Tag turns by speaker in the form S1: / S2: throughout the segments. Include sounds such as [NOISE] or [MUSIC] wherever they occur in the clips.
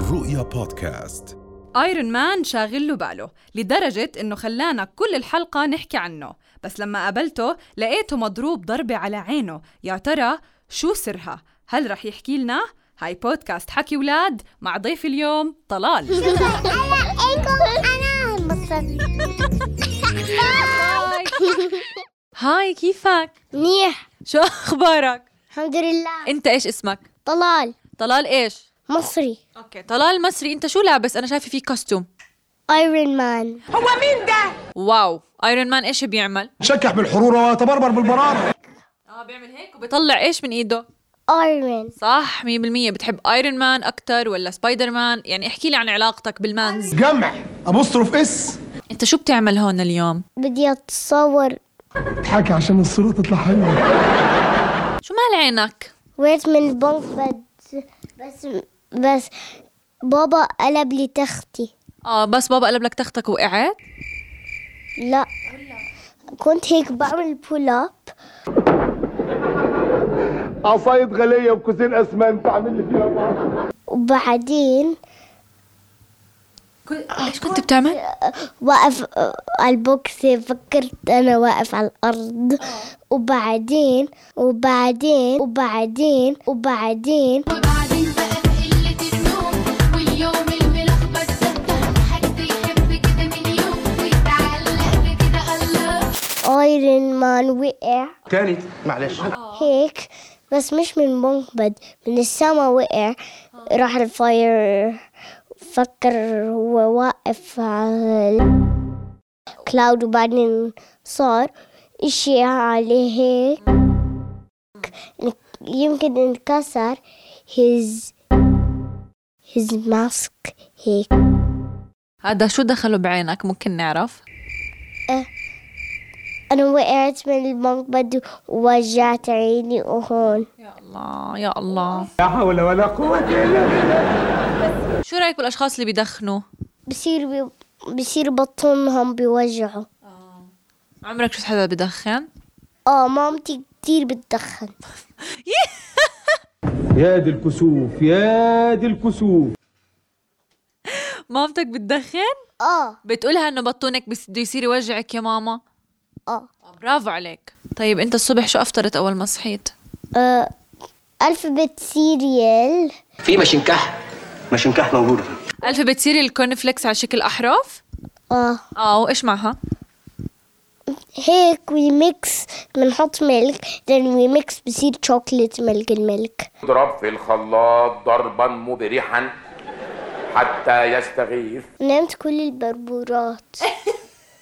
S1: الرؤيا بودكاست
S2: ايرون مان شاغل له باله لدرجة انه خلانا كل الحلقة نحكي عنه بس لما قابلته لقيته مضروب ضربة على عينه يا ترى شو سرها؟ هل رح يحكي لنا؟ هاي بودكاست حكي ولاد مع ضيف اليوم طلال
S3: انا انكم انا المصري
S2: هاي [LAUGHS] هاي كيفك؟
S3: [LAUGHS] منيح
S2: شو اخبارك؟
S3: الحمد لله
S2: انت ايش اسمك؟
S3: طلال
S2: طلال ايش؟
S3: مصري
S2: اوكي طلال مصري انت شو لابس؟ انا شايفه فيه كوستوم
S3: ايرون مان
S2: واو ايرون مان ايش بيعمل؟
S4: شكح بالحرورة ويتبربر بالبرارة
S2: اه بيعمل هيك وبيطلع ايش من ايده؟
S3: ايرون
S2: صح 100% بتحب ايرون مان اكثر ولا سبايدر مان يعني احكي لي عن علاقتك بالمانز
S4: جمع أبوستروف اس
S2: انت شو بتعمل هون اليوم
S3: بدي اتصور
S4: اضحكي عشان الصورة تطلع حلوة
S2: شو مال عينك
S3: وقعت من البنك بس بس بس بابا قلب لي تختي
S2: اه بس بابا قلب لك تختك وقعت
S3: لا كنت هيك بعمل بول اب
S4: عصاية غلية وكوسين أسمنت عامل لي فيها بعض.
S3: وبعدين
S2: ايش كنت بتعمل
S3: وقف آه، على البوكس فكرت انا واقف على الارض وبعدين وبعدين وبعدين وبعدين
S5: وبعدين بقى بقلة النوم واليوم الملخبط ده حد يحب كده من يوم ويتعلق بكده الله
S3: ايرون مان وقع
S4: تاني معلش
S3: هيك بس مش من منبد من السما وقع راح الفاير فكر هو واقف على كلاود وبعدين صار اشي عليه هيك يمكن انكسر his his mask هيك
S2: هذا شو دخله بعينك ممكن نعرف
S3: انا وقعت من المنبد ووجعت عيني وهون
S2: يا الله آه، يا الله
S4: لا حول ولا قوة إلا
S2: شو رايك بالاشخاص اللي بدخنوا
S3: بصير بي... بصير بطنهم بيوجعوا
S2: عمرك شفت حدا بدخن
S3: اه مامتي كتير بتدخن
S4: يا دي الكسوف يا دي الكسوف
S2: مامتك بتدخن
S3: اه
S2: بتقولها انه بطونك بس- بده يصير يوجعك يا ماما آه،
S3: اه
S2: برافو عليك طيب انت الصبح شو افطرت اول ما صحيت
S3: آه، الفابت سيريال
S6: في ماشين كحل ماشين كحل موجوده
S2: الف بتصيري الكورن فليكس على شكل احرف
S3: اه
S2: اه وايش معها
S3: هيك وي ميكس بنحط ملك then وي ميكس بصير شوكليت ملك الملك
S7: اضرب في الخلاط ضربا مبرحا حتى يستغيث
S3: نمت كل البربورات [LAUGHS]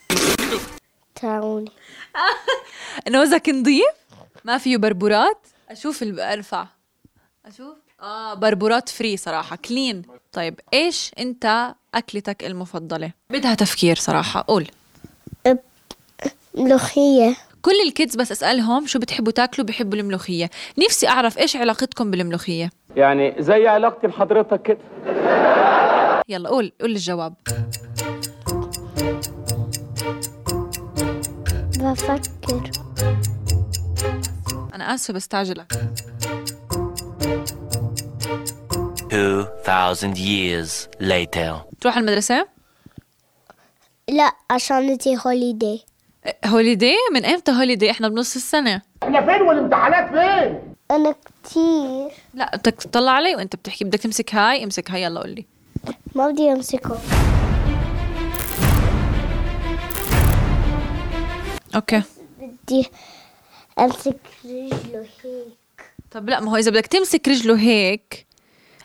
S3: تعوني
S2: نوزك نظيف ما فيه بربورات اشوف الب- ارفع اشوف اه بربورات فري صراحه كلين طيب ايش انت اكلتك المفضله بدها تفكير صراحه قول
S3: ملوخية
S2: كل الكيدز بس اسالهم شو بتحبوا تاكلوا بحبوا الملوخيه نفسي اعرف ايش علاقتكم بالملوخيه
S8: يعني زي علاقتي بحضرتك كده
S2: يلا قول قول الجواب
S3: بفكر
S2: انا اسفه بستعجلك
S9: 2,000 years later.
S2: تروح على المدرسه
S3: لا عشان نتي هوليداي
S2: هوليدي إيه، من امتى هوليدي احنا بنص السنه
S3: انا كتير
S2: لا بدك تطلع علي وانت بتحكي بدك تمسك هاي امسك هاي يلا قول لي
S3: ما بدي امسكه
S2: اوكي
S3: بدي امسك رجله هيك
S2: طب لا ما هو اذا بدك تمسك رجله هيك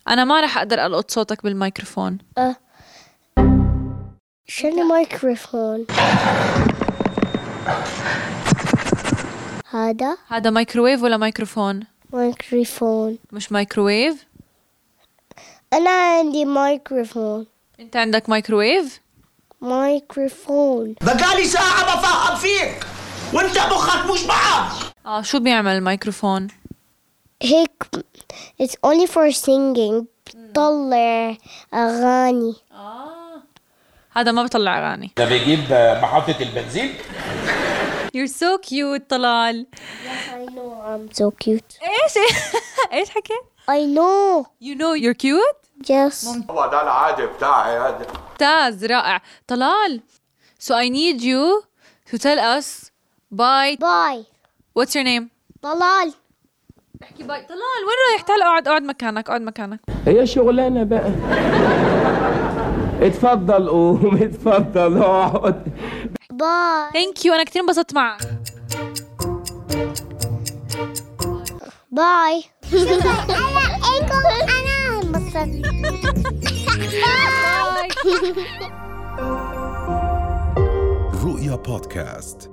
S2: انا ما راح اقدر القط صوتك بالميكروفون
S3: شنو مايكروفون هذا
S2: هذا مايكروويف ولا ميكروفون
S3: مايكروفون
S2: مش مايكروويف
S3: انا عندي مايكروفون
S2: انت عندك مايكروويف
S3: مايكروفون
S6: بقالي ساعه بفهم فيك وانت مخك مش معاك
S2: اه شو بيعمل الميكروفون
S3: هيك it's only for singing بطلع اغاني
S2: هذا ما بطلع اغاني
S7: ده بيجيب محطة البنزين
S2: يور سو كيوت طلال
S3: I know I'm so
S2: [LAUGHS]
S3: cute
S2: ايش ايش حكيت
S3: I know
S2: يو نو يور كيوت
S3: Just
S7: هو ده العادي بتاعي هذا
S2: ممتاز رائع طلال so I need you to tell us باي
S3: باي
S2: what's your name
S3: طلال
S2: احكي باي طلال وين رايح تعال اقعد اقعد مكانك اقعد مكانك
S8: هي شغلانه بقى اتفضل قوم اتفضل اقعد
S3: باي
S2: ثانك يو انا كثير انبسطت معك
S3: باي انا ايكم انا انبسطت [LAUGHS] باي
S1: رؤيا بودكاست